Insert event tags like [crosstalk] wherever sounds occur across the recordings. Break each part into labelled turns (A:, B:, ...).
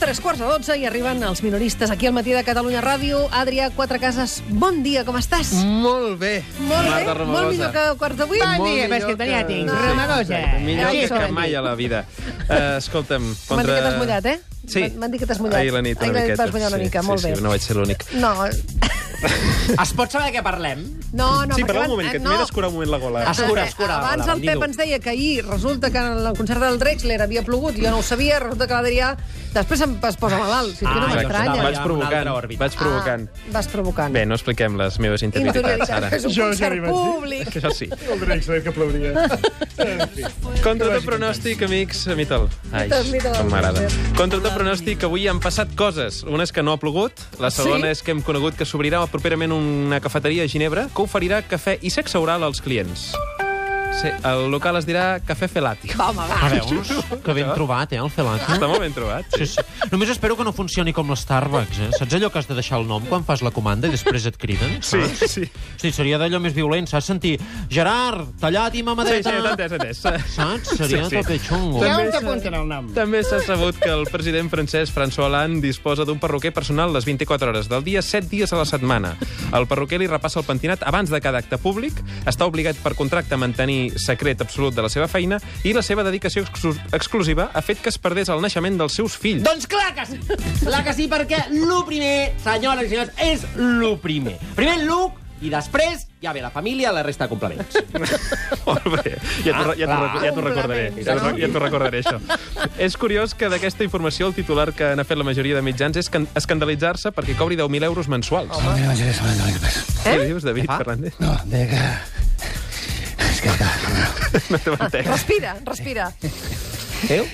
A: Tres quarts de dotze i arriben els minoristes aquí al matí de Catalunya Ràdio. Adrià Quatrecases, bon dia, com estàs?
B: Molt bé.
A: Molt bé,
B: Marta Romagosa.
A: molt millor que eh, quarts de vuit.
B: Molt
C: dia, però és que tenia tinc. Romagosa.
B: exacte. Millor
A: eh? Així
B: que,
A: s'ho van
B: que
A: dir.
B: mai a la
A: [laughs]
B: vida. Uh, escolta'm, contra...
A: M'han dit que t'has mullat, eh?
B: Sí.
A: M'han- M'han dit que t'has mullat.
B: Ahir la nit,
A: Ahir
B: una
A: la nit
B: miqueta.
A: vas mullar una
B: sí,
A: mica,
B: sí,
A: molt bé.
B: Sí, no vaig ser l'únic.
A: No,
C: Es pot saber de què parlem?
A: no, no.
D: Sí,
A: perquè
D: però
A: van-
D: un moment, que
A: eh,
D: m'he d'escurar un moment la gola.
C: Ah, Escura, escura,
A: Abans
C: hola,
A: el Pep
C: Nino.
A: ens deia que ahir resulta que en el concert del Drexler havia plogut, jo no ho sabia, resulta que l'Adrià després em- es posa malalt, si és que no
C: Ah,
B: Exacte.
C: m'estranya.
A: m'estranya.
C: estava
B: Vaig
C: ja en una
B: provocant,
C: altra òrbita.
B: vaig provocant.
A: Ah, vas provocant.
B: Bé, no expliquem les meves interioritats
A: Interioritat,
B: ara.
A: que és un
D: Jo ja
A: concert
D: li vaig dir.
A: públic.
B: Això sí.
D: El Drexler
C: [laughs]
D: que aplaudia.
B: Contra tot pronòstic, amics, a mi te'l. Ai,
A: Mira-te'l, mira-te'l.
B: com m'agrada. Contra tot pronòstic, avui han passat coses. Una és que no ha plogut, la segona
A: Sí?
B: és que hem conegut que s'obrirà properament una cafeteria a Ginebra que oferirà cafè i sexe oral als clients. Sí, el local es dirà Cafè Felati.
A: Va, home, va.
E: Ah, veus? Que ben trobat, eh, el Felati.
C: Ah.
B: Està molt ben trobat.
E: Sí, sí. Només espero que no funcioni com l'Starbucks, eh? Saps allò que has de deixar el nom quan fas la comanda i després et criden?
B: Sí,
E: saps?
B: sí.
E: Hosti, seria d'allò més violent, saps? Sentir Gerard, tallat i mama
B: Sí, sí,
E: dreta.
B: t'he entès, t'he entès.
E: Saps? Seria sí,
B: Sí, sí.
E: sí. tope xungo.
C: Hi ha
E: Ja.
C: uns apunten el nom.
B: També s'ha sabut que el president francès François Hollande disposa d'un perruquer personal les 24 hores del dia, 7 dies a la setmana. El perruquer li repassa el pentinat abans de cada acte públic, està obligat per contracte a mantenir secret absolut de la seva feina i la seva dedicació exclu exclusiva ha fet que es perdés el naixement dels seus fills.
C: Doncs clar que sí! Clar que sí, perquè lo primer, senyores i senyors, és lo primer. Primer el look i després ja ve la família, la resta de complements.
B: [laughs] Molt bé. Ja t'ho ja t'ho rec- ja t'ho recordaré. Ja t'ho ja t'ho recordaré, això. és curiós que d'aquesta informació el titular que han fet la majoria de mitjans és can- escandalitzar-se perquè cobri 10.000 euros mensuals.
F: No me levantes esta mañana, ¿qué pasa?
B: Què dius, David Fernández? [laughs]
F: No, de acá. Es que,
B: No te m'entens.
A: Respira, respira.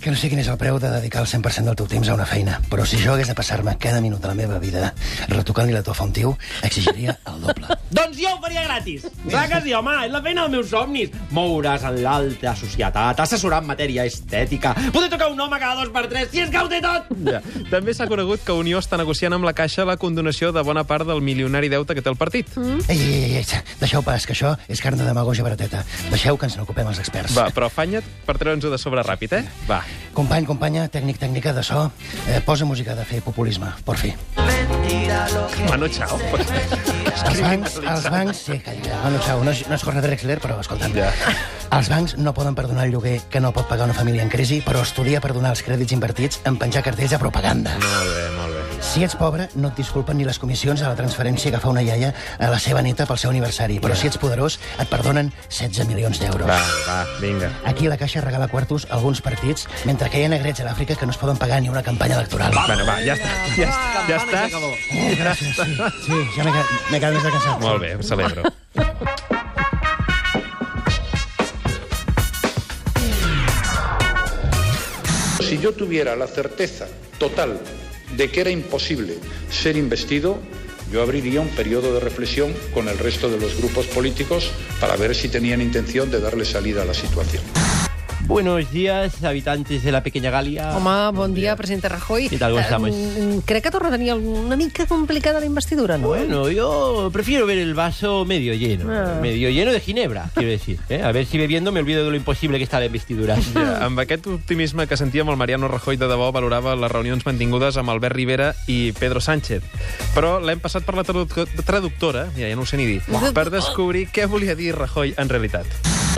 F: que no sé quin és el preu de dedicar el 100% del teu temps a una feina, però si jo hagués de passar-me cada minut de la meva vida retocant-li la tofa a un tio, exigiria el doble.
C: doncs jo ho faria [laughs] gratis. Clar que sí, home, és la feina dels meus somnis. Moure's en l'alta societat, assessorar en matèria estètica, poder tocar un home cada dos per tres, si és que ho té tot!
B: Ja. També s'ha conegut que Unió està negociant amb la Caixa la condonació de bona part del milionari deute que té el partit. Mm.
F: Ei, ei, ei, ei, deixeu pas, que això és carn de demagogia barateta. Deixeu que ens n'ocupem els experts.
B: Va, però afanya't per treure'ns-ho de sobre ràpid, eh? Va.
F: Company, companya, tècnic, tècnica de so, eh, posa música de fer populisme, por fi.
B: Manu, xau.
F: Els bancs, els bancs... Sí, calla, calla. Bueno, xau, no, és- no és Cornet Drexler, però escolta'm.
B: Ja.
F: Els bancs no poden perdonar el lloguer que no pot pagar una família en crisi, però estudia perdonar els crèdits invertits en penjar cartells de propaganda.
B: Molt bé, molt bé.
F: Si ets pobre, no et disculpen ni les comissions a la transferència que fa una iaia a la seva neta pel seu aniversari, però si ets poderós, et perdonen 16 milions d'euros.
B: Va, va, vinga.
F: Aquí la Caixa regala quartos a alguns partits, mentre que hi ha negrets a l'Àfrica que no es poden pagar ni una campanya electoral.
B: Bueno, va, ja està. Ja, està. ja
C: Campana i
B: estàs?
C: s'acabó.
F: Eh, gràcies, sí, sí, ja m'he quedat, m'he quedat més de cansat.
B: Molt bé, ho celebro.
G: Si yo tuviera la certeza total de que era imposible ser investido, yo abriría un periodo de reflexión con el resto de los grupos políticos para ver si tenían intención de darle salida a la situación.
C: Buenos días, habitantes de la pequeña Galia.
A: Home, bon dia, presidente Rajoy.
C: Què tal, com estamos?
A: Mm, Crec que torna a tenir una mica complicada la investidura, no? eh?
C: Bueno, yo prefiero ver el vaso medio lleno.
A: Ah.
C: Medio lleno de ginebra, quiero decir. ¿eh? A ver si bebiendo me olvido de lo imposible que está la investidura.
B: Ja, amb aquest optimisme que sentíem, el Mariano Rajoy de debò valorava les reunions mantingudes amb Albert Rivera i Pedro Sánchez. Però l'hem passat per la traducto- traductora, mira, ja no ho sé ni dir, per descobrir què volia dir Rajoy en realitat.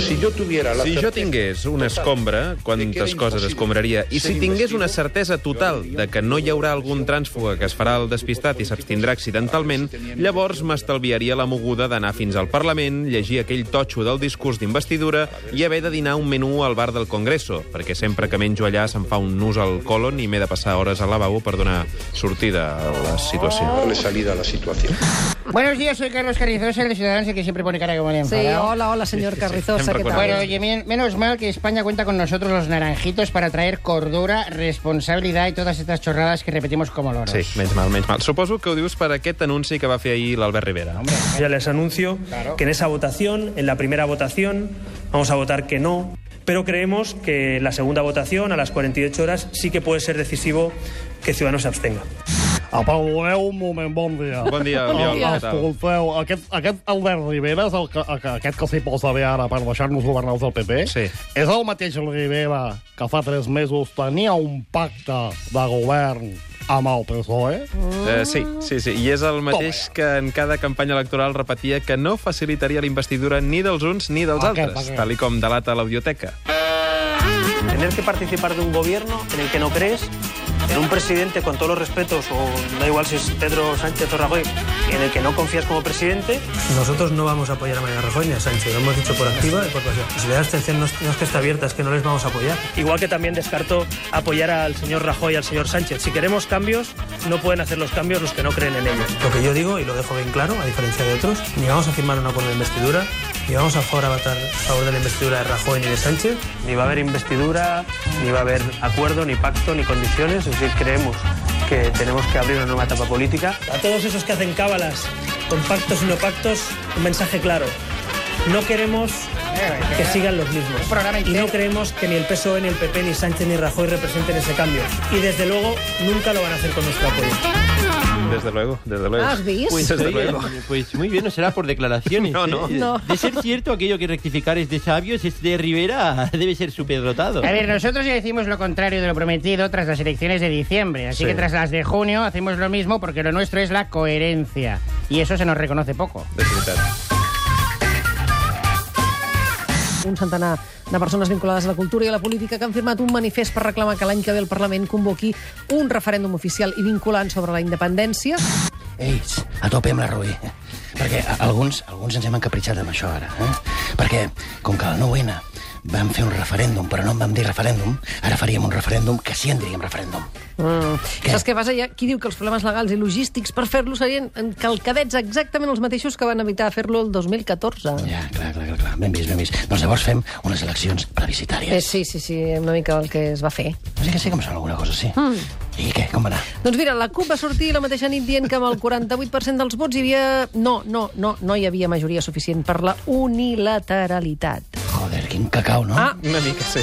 G: Si yo tuviera la
B: Si jo
G: certeza
B: tingués una
G: total
B: escombra,
G: de que era
B: quantes coses
G: imposible
B: escombraria? I
G: ser
B: si tingués
G: investido,
B: una certesa total de que no hi haurà algun trànsfuga que es farà el despistat i s'abstindrà accidentalment, llavors m'estalviaria la moguda d'anar fins al Parlament, llegir aquell totxo del discurs d'investidura i haver de dinar un menú al bar del Congreso, perquè sempre que menjo allà se'm fa un nus al colon i m'he de passar hores al lavabo per donar sortida a la situació.
G: darle salida a la situación.
H: Buenos días, soy Carlos Carrizosa, el de Ciudadanos, el que siempre pone cara como de
A: Sí,
H: enfadado.
A: hola, hola, senyor Carrizosa, què
B: Bueno,
A: tal?
H: Pero oye, men- menos mal que España cuenta con nosotros los naranjitos para traer cordura, responsabilidad y todas estas chorradas que repetimos como loros.
B: Sí, menys mal, menys mal. Suposo que ho dius per aquest anunci que va fer ahir l'Albert Rivera.
I: Ya les anuncio que en esa votación, en la primera votación, vamos a votar que no. Pero creemos que en la segunda votación, a las 48 horas, sí que puede ser decisivo que Ciudadanos se abstenga.
J: Perdoneu un moment, bon dia.
B: Bon dia, Oriol,
J: Ah,
B: què tal?
J: Escolteu, aquest, aquest Albert Rivera, és el que, el que- aquest que s'hi posa bé ara per deixar-nos governar del PP,
F: eh?
B: Sí.
J: és el mateix Rivera que fa tres mesos tenia un pacte de govern amb el PSOE?
B: Eh, sí, sí, sí. I és el mateix que en cada campanya electoral repetia que no facilitaria la investidura ni dels uns ni dels
J: Per què,
B: altres,
J: per què?
B: tal i com delata l'audioteca.
I: Tener que participar de un gobierno en el que no crees, en un presidente con todos los respetos, o da igual si es Pedro Sánchez o Rajoy, en el que no confías como presidente.
K: Nosotros no vamos a apoyar a María Rajoy ni a Sánchez, lo hemos dicho por activa y por pasiva. Y Si la abstención no es, no es que está abierta, es que no les vamos a apoyar.
I: Igual que también descartó apoyar al señor Rajoy y al señor Sánchez. Si queremos cambios, no pueden hacer los cambios los que no creen en ellos.
K: Lo que yo digo, y lo dejo bien claro, a diferencia de otros, ni vamos a firmar un acuerdo de investidura, ni vamos a favor, a votar a favor de la investidura de Rajoy ni de Sánchez.
I: Ni va a haber investidura, ni va a haber acuerdo, ni pacto, ni condiciones. Es decir, creemos que tenemos que abrir una nueva etapa política.
L: A todos esos que hacen cábalas, con pactos y no pactos, un mensaje claro. No queremos
H: Eh,
L: que sigan los mismos. Y no creemos que ni el PSOE, E, ni el PP, ni Sánchez, ni Rajoy representen ese cambio. Y desde luego nunca lo van a hacer con nuestro apoyo.
B: Desde luego, desde luego.
A: ¿Has visto?
C: Pues,
B: desde
C: oiga,
B: luego.
C: pues muy bien, no será por declaraciones.
B: No, no.
C: ¿eh?
A: No.
C: De ser cierto aquello que rectificar es de sabios, es de Rivera [laughs] debe ser superdotado.
M: A ver, nosotros ya decimos lo contrario de lo prometido tras las elecciones de diciembre, así
C: Sí.
M: que tras las de junio hacemos lo mismo porque lo nuestro es la coherencia. Y eso se nos reconoce poco.
B: De veritat.
A: Un centenar de persones vinculades a la cultura i a la política que han firmat un manifest per reclamar que l'any que ve el Parlament convoqui un referèndum oficial i vinculant sobre la independència.
D: Ells, a tope amb la Rui. Perquè a- alguns, alguns ens hem encapritxat amb això ara. Eh? Perquè, com que el 9-N vam fer un referèndum, però no en vam dir referèndum, ara faríem un referèndum que sí en diríem referèndum.
A: Mm. Saps què passa? Hi ha qui diu que els problemes legals i logístics per fer-lo serien calcadets exactament els mateixos que van evitar fer-lo el 2014.
D: Ja, clar, clar, clar, clar. Ben vist, ben vist. Doncs llavors fem unes eleccions plebiscitàries.
A: Eh, sí, sí, sí, una mica el que es va fer.
D: Sí que sí que em sona alguna cosa, sí.
C: Hmm.
A: Mm.
D: I què, com va anar?
A: Doncs mira, la CUP va sortir la mateixa nit dient que amb el 48% dels vots hi havia... No, no, no, no hi havia majoria suficient per la unilateralitat.
D: Joder, quin cacau, no?
A: Ah.
D: Una mica, sí.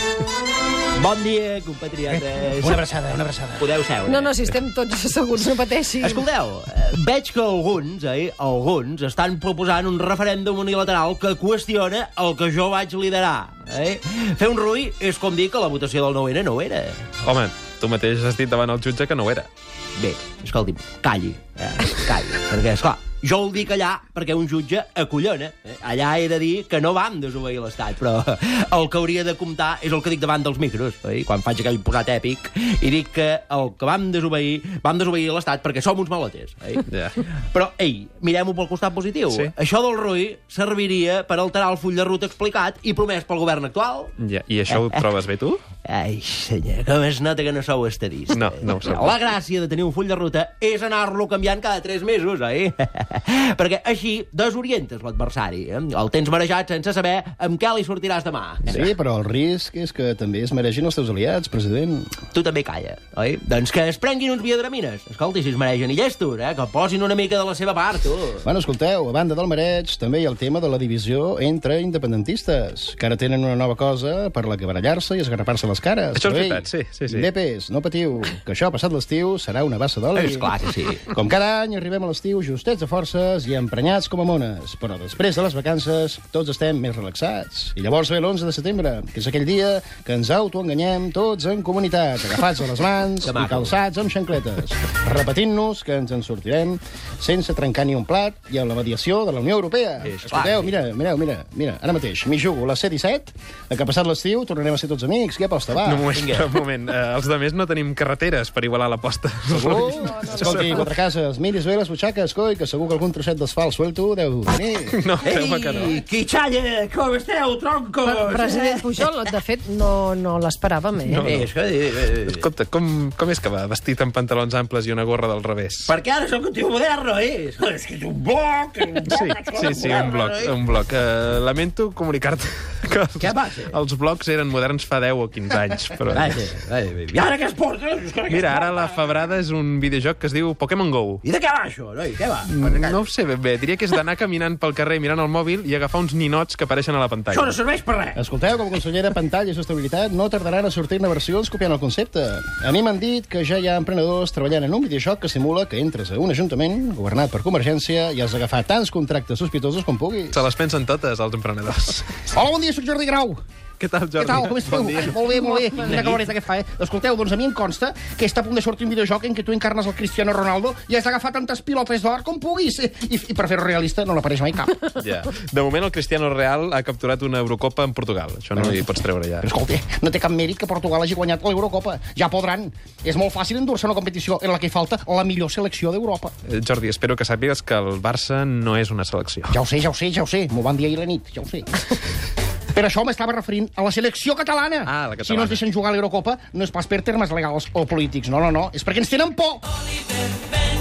C: Bon dia, compatriotes.
D: Eh, Una abraçada, una abraçada.
C: Podeu seure.
A: No, no, si estem tots [laughs] asseguts, no pateixi.
C: Escolteu, eh, veig que alguns, eh, alguns estan proposant un referèndum unilateral que qüestiona el que jo vaig liderar. Eh? Fer un rui és com dir que la votació del 9-N no era.
B: Home, tu mateix has dit davant el jutge que no ho era.
C: Bé, escolti'm, calli, eh, calli, perquè, esclar, jo ho dic allà perquè un jutge acollona. eh? Allà he de dir que no vam desobeir l'Estat, però el que hauria de comptar és el que dic davant dels micros, oi? quan faig aquell posat èpic i dic que el que vam desobeir, vam desobeir l'Estat perquè som uns malotes. Oi?
B: Ja.
C: Però, ei, mirem-ho pel costat positiu.
B: Sí.
C: Això del Rui serviria per alterar el full de ruta explicat i promès pel govern actual.
B: Ja. I això ho trobes bé, tu?
C: Ai, senyor, com es nota que no sou estadista.
B: No, no ho sé.
C: La gràcia de tenir un full de ruta és anar-lo canviant cada 3 mesos, eh? [laughs] Perquè així desorientes l'adversari. Eh? El tens marejat sense saber amb què li sortiràs demà.
F: Sí, però el risc és que també es mereixin els teus aliats, president.
C: Tu també calla, oi? Doncs que es prenguin uns viadramines. Escolta, si es mereixen i llestos, eh? Que posin una mica de la seva part, tu.
F: Bueno, escolteu, a banda del mareig, també hi ha el tema de la divisió entre independentistes, que ara tenen una nova cosa per la que barallar-se i esgarrapar-se les cares.
B: Això és
F: Però, ei,
B: veritat, sí, sí, sí.
F: Nepes, no patiu, que això passat l'estiu serà una bassa d'oli.
C: És clar que sí.
F: Com cada any arribem a l'estiu justets de forces i emprenyats com a mones, però després de les vacances tots estem més relaxats. I llavors ve l'11 de setembre, que és aquell dia que ens autoenganyem tots en comunitat, agafats a les mans
C: Que
F: i
C: maco.
F: calçats amb xancletes, repetint-nos que ens en sortirem sense trencar ni un plat i amb la mediació de la Unió Europea.
C: És clar,
F: Escolteu,
C: sí.
F: mira, mireu, mira, mira, ara mateix, m'hi jugo, les 7 i 7, que passat l'estiu tornarem a ser tots amics, què aposta, va?
B: No m'ho és, però un moment. Eh, els demés no tenim carreteres per igualar l'aposta.
F: Segur? Escolti, quatre cases, miris bé les butxaques, coi, que segur que algun trosset d'asfalt suelto deu tenir.
B: No,
C: Ei, qui xalla, com esteu, troncos?
A: Pre- President Pujol, de fet, no, no l'esperàvem, eh?
B: No,
C: Eh,
B: no.
C: escolta, eh, eh,
B: Escolta, com, com és que va vestit amb pantalons amples i una gorra del revés?
C: Perquè ara sóc un tio moderno, eh? És que és un bloc...
B: Sí, sí, sí, un bloc, un bloc. Uh, lamento comunicar-te [laughs] que els,
C: Què passa?
B: els blocs eren moderns fa 10 o 15 anys. Però...
C: Vaja, vaja, vaja. I ara què es porta? És que ara què es
B: Mira, ara
C: porta?
B: la febrada és un videojoc que es diu Pokémon Go.
C: I de què va això, noi? Què va?
B: No ho sé ben bé. Diria que és d'anar caminant pel carrer mirant el mòbil i agafar uns ninots que apareixen a la pantalla.
C: serveix per res.
F: Escolteu, com a consellera Pantalla i Sostenibilitat no tardaran a sortir-ne versions copiant el concepte. A mi m'han dit que ja hi ha emprenedors treballant en un videojoc que simula que entres a un ajuntament governat per Convergència i has d'agafar tants contractes sospitosos com puguis.
B: Se les pensen totes, els
F: [laughs]
B: emprenedors.
F: Hola, bon dia, soc Jordi Grau.
B: Què tal, Jordi?
F: Què tal? Com esteu?
B: Bon
F: [laughs]
B: dia.
F: molt bé, molt bé. Quina caloreta que fa, eh? Escolteu, doncs a mi em consta que està a punt de sortir un videojoc en què tu encarnes el Cristiano Ronaldo i has d'agafar tantes pilotes d'or com puguis. I, i per fer-ho realista no n'apareix mai cap.
B: Ja. De moment, el Cristiano Real ha capturat una Eurocopa en Portugal. Això no li pots treure ja.
F: Però escolta, eh, no té cap mèrit que Portugal hagi guanyat l'Eurocopa. Ja podran. És molt fàcil endur-se una competició en la que hi falta la millor selecció d'Europa.
B: Eh, Jordi, espero que sàpigues que el Barça no és una selecció.
F: Ja ho sé, ja ho sé, ja ho sé. M'ho van dir ahir a la nit, ja [laughs] ho sé. Per això m'estava referint a la selecció catalana. Ah,
B: la
F: Si no ens deixen jugar a l'Eurocopa, no és pas per termes legals o polítics. No, no, no. És perquè ens tenen por.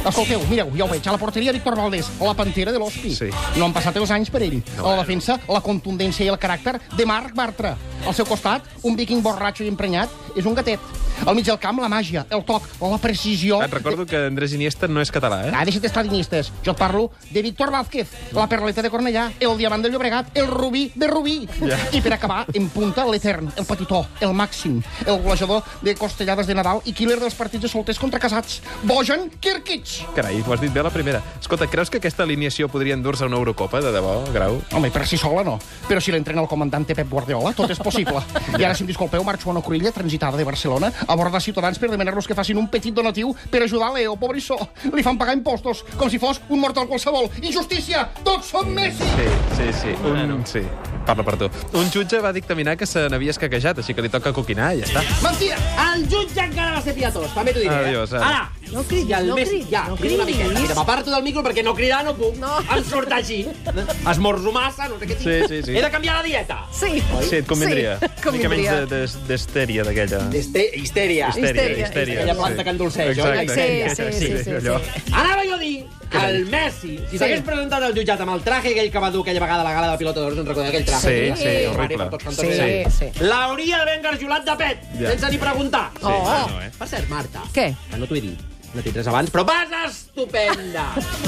F: Escolteu, mireu, ja ho veig. A la porteria Víctor Valdés, la pantera de l'Hospi. Sí. No han passat els anys per ell. No, a la defensa, la contundència i el caràcter de Marc Bartra. Al seu costat, un viking borratxo i emprenyat és un gatet. Al mig del camp, la màgia, el toc, la precisió...
B: Et recordo que Andrés Iniesta no és català, eh?
F: Ah, deixa't estar dinistes. Jo et parlo de Víctor Vázquez, la perleta de Cornellà, el diamant de Llobregat, el rubí de Rubí.
B: Ja.
F: I per acabar, en punta, l'Etern, el petitó, el màxim, el golejador de costellades de Nadal i killer dels partits de solters contra casats, Bojan Kirkic.
B: Carai, ho has dit bé a la primera. Escolta, creus que aquesta alineació podria endur-se a una Eurocopa, de debò, Grau?
F: Home, per si sola no. Però si l'entrena el comandante Pep Guardiola, tot és possible. I ara, si em disculpeu, marxo a una cruïlla transitada de Barcelona a bord de Ciutadans per demanar-los que facin un petit donatiu per ajudar Leo, pobrissó. Li fan pagar impostos, com si fos un mortal qualsevol. Injustícia! Tots som Messi!
B: Sí, sí, sí. Un... Sí, parla per tu. Un jutge va dictaminar que se n'havia escaquejat, així que li toca coquinar i ja està.
C: Mentida! El jutge encara va ser pietós, també t'ho diré.
B: Adiós,
C: eh?
B: ara.
C: Ara!
A: No cridis,
C: I el
A: no
C: més...
A: cridis,
C: ja,
A: no
C: crido una
A: cridis.
C: miqueta. Mira, m'aparto del micro perquè no cridar no puc. No. Em surt així.
B: [laughs]
C: Esmorzo massa, no sé què tinc.
B: Sí, sí, sí.
C: He de canviar la dieta.
A: Sí.
B: Sí, et convindria.
A: Sí,
B: Una mica
A: convindria.
B: menys de- de- d'estèria, d'aquella.
C: Este... Histèria.
B: Histèria, histèria.
C: Aquella planta que endolceix, oi?
B: Exacte. Sí, sí, sí, allò.
C: Anava jo a dir que el Messi, si s'hagués presentat al jutjat amb el traje aquell que va dur aquella vegada a la gala de pilota d'ors, no recordeu aquell traje?
B: Sí,
C: aquell?
B: sí, horrible.
C: per tots cantons.
B: Sí,
A: sí.
C: L'hauria d'haver engarjolat de pet,
B: Ja.
C: sense ni preguntar.
A: Sí, Oh. clar, no,
C: eh? Per cert, Marta,
A: Què?
C: que Ah, no t'ho he dit, no t'he tres abans, però vas
A: [laughs]
C: estupenda!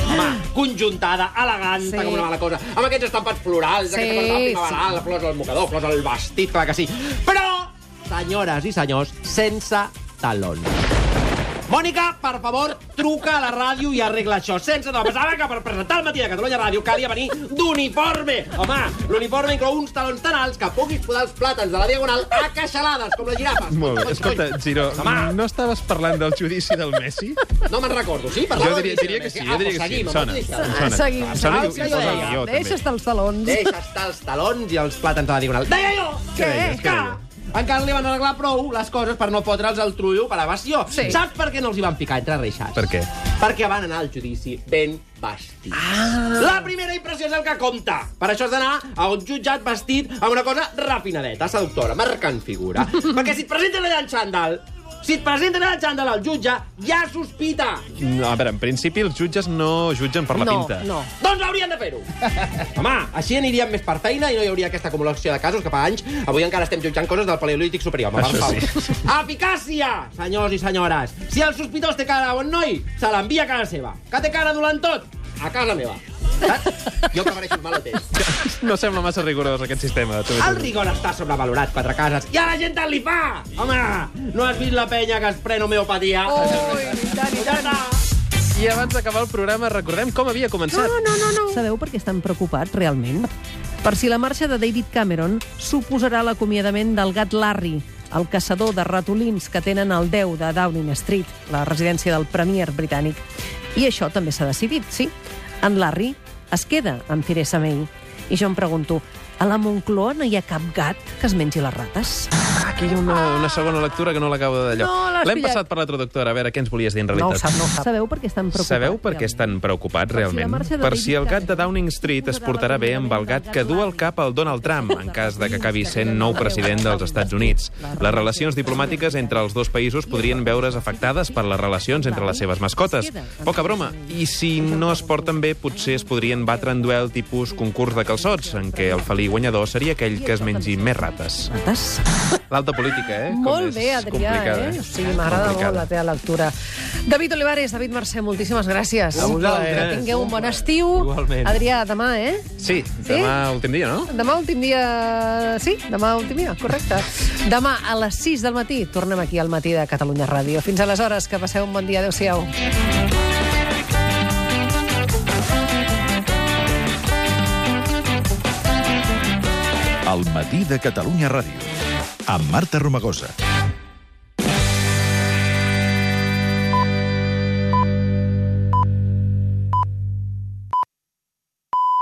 C: Home, conjuntada, elegant,
A: Sí.
C: sí. com una mala cosa, amb aquests estampats florals,
A: Sí,
C: sí, aquesta cosa de la
A: sí.
C: primaveral, la flors al mocador, flors al vestit, clar que sí. Però, senyores i senyors, sense talons. Mònica, per favor, truca a la ràdio i arregla això. Sense no, pensava que per presentar el matí de Catalunya Ràdio calia venir d'uniforme. Home, l'uniforme inclou uns talons tan alts que puguis posar els plàtans de la diagonal a queixalades, com les girafes.
B: Molt bé. Escolta, Giro, mm, no estaves parlant del judici del Messi?
C: No me'n recordo, sí?
B: Jo
C: Parlava
B: diria,
C: del
B: diria que sí,
C: judici
B: jo
C: del
B: diria que sí. Em
C: Messi. Ah,
B: sona.
C: doncs
B: Em sona.
C: seguim, amb
B: Ah,
A: Seguim,
B: Em sona i
A: Ah, seguim,
B: i posa el guió, també.
A: Deixa't els talons.
C: Deixa estar els talons i els plàtans a la diagonal. Deia jo!
A: Què deies,
C: Que encara no li van arreglar prou les coses per no fotre'ls el trullo per evasió.
A: Sí.
C: Saps per què no els hi van picar entre reixes?
B: Per què?
C: Perquè van anar al judici ben vestits. Ah. La primera impressió és el que compta. Per això has d'anar a un jutjat vestit amb una cosa refinadeta, seductora, marcant figura. Perquè si et presenten allà en xandall, si et presenten allà en xandall al jutge, ja sospita.
B: No, a veure, en principi els jutges no jutgen per la
A: no,
B: pinta.
A: no.
C: Doncs haurien de fer-ho. Home, així aniríem més per feina i no hi hauria aquesta acumulació de casos que fa anys. Avui encara estem jutjant coses del paleolític superior. Home,
B: Això
C: per favor. [laughs] Eficàcia, senyors i senyores. Si el sospitós té cara de bon noi, se l'envia a casa seva. Que té cara dolent tot, a casa meva. Saps? Jo que mereixo un malotès.
B: [laughs] No sembla massa rigorós, aquest sistema. també t'ho
C: El
B: dic.
C: rigor està sobrevalorat, quatre cases. I a la gent tant li fa! Home, no has vist la penya que es pren homeopatia?
A: Ui, i tant, i tant.
B: I abans d'acabar el programa, recordem com havia començat.
A: No, no, no. Sabeu per què estan preocupats, realment? Per si la marxa de David Cameron suposarà l'acomiadament del gat Larry, el caçador de ratolins que tenen el 10 de Downing Street, la residència del premier britànic. I això també s'ha decidit, sí. En Larry es queda amb Theresa May. I jo em pregunto, a la Moncloa no hi ha cap gat que es mengi les rates?
B: Aquí hi ha una,
A: Ah.
B: una segona lectura que no l'acabo d'allò.
A: No, l'has
B: L'hem
A: pillat.
B: passat per la traductora, a veure què ens volies dir en
A: No
B: realitat.
A: ho sap, no ho sap. Sabeu per què estan preocupats?
B: Sabeu per què estan preocupats,
A: la
B: realment?
A: marxa de
B: Per
A: David
B: si el gat de Downing Street es portarà bé amb el gat que du al cap al Donald Trump, en cas de que acabi sent nou president dels Estats Units. Les relacions diplomàtiques entre els dos països podrien veure's afectades per les relacions entre les seves mascotes. Poca broma. I si no es porten bé, potser es podrien batre en duel tipus concurs de calçots, en què el felí sortir guanyador seria aquell que es mengi més rates.
A: Rates?
B: L'alta política, eh? Com
A: Molt
B: és
A: bé, Adrià,
B: complicada,
A: eh? O sigui, m'agrada
B: Complicada.
A: molt la teva lectura. David Olivares, David Mercè, moltíssimes gràcies.
B: A vosaltres.
A: Que tingueu un bon estiu.
B: Igualment.
A: Adrià, demà, eh?
B: Sí, demà últim dia, no?
A: Demà últim dia... Sí, demà últim dia, correcte. Demà a les 6 del matí tornem aquí al matí de Catalunya Ràdio. Fins aleshores, que passeu un bon dia. Adéu-siau.
N: El matí de Catalunya Ràdio. Amb Marta Romagosa.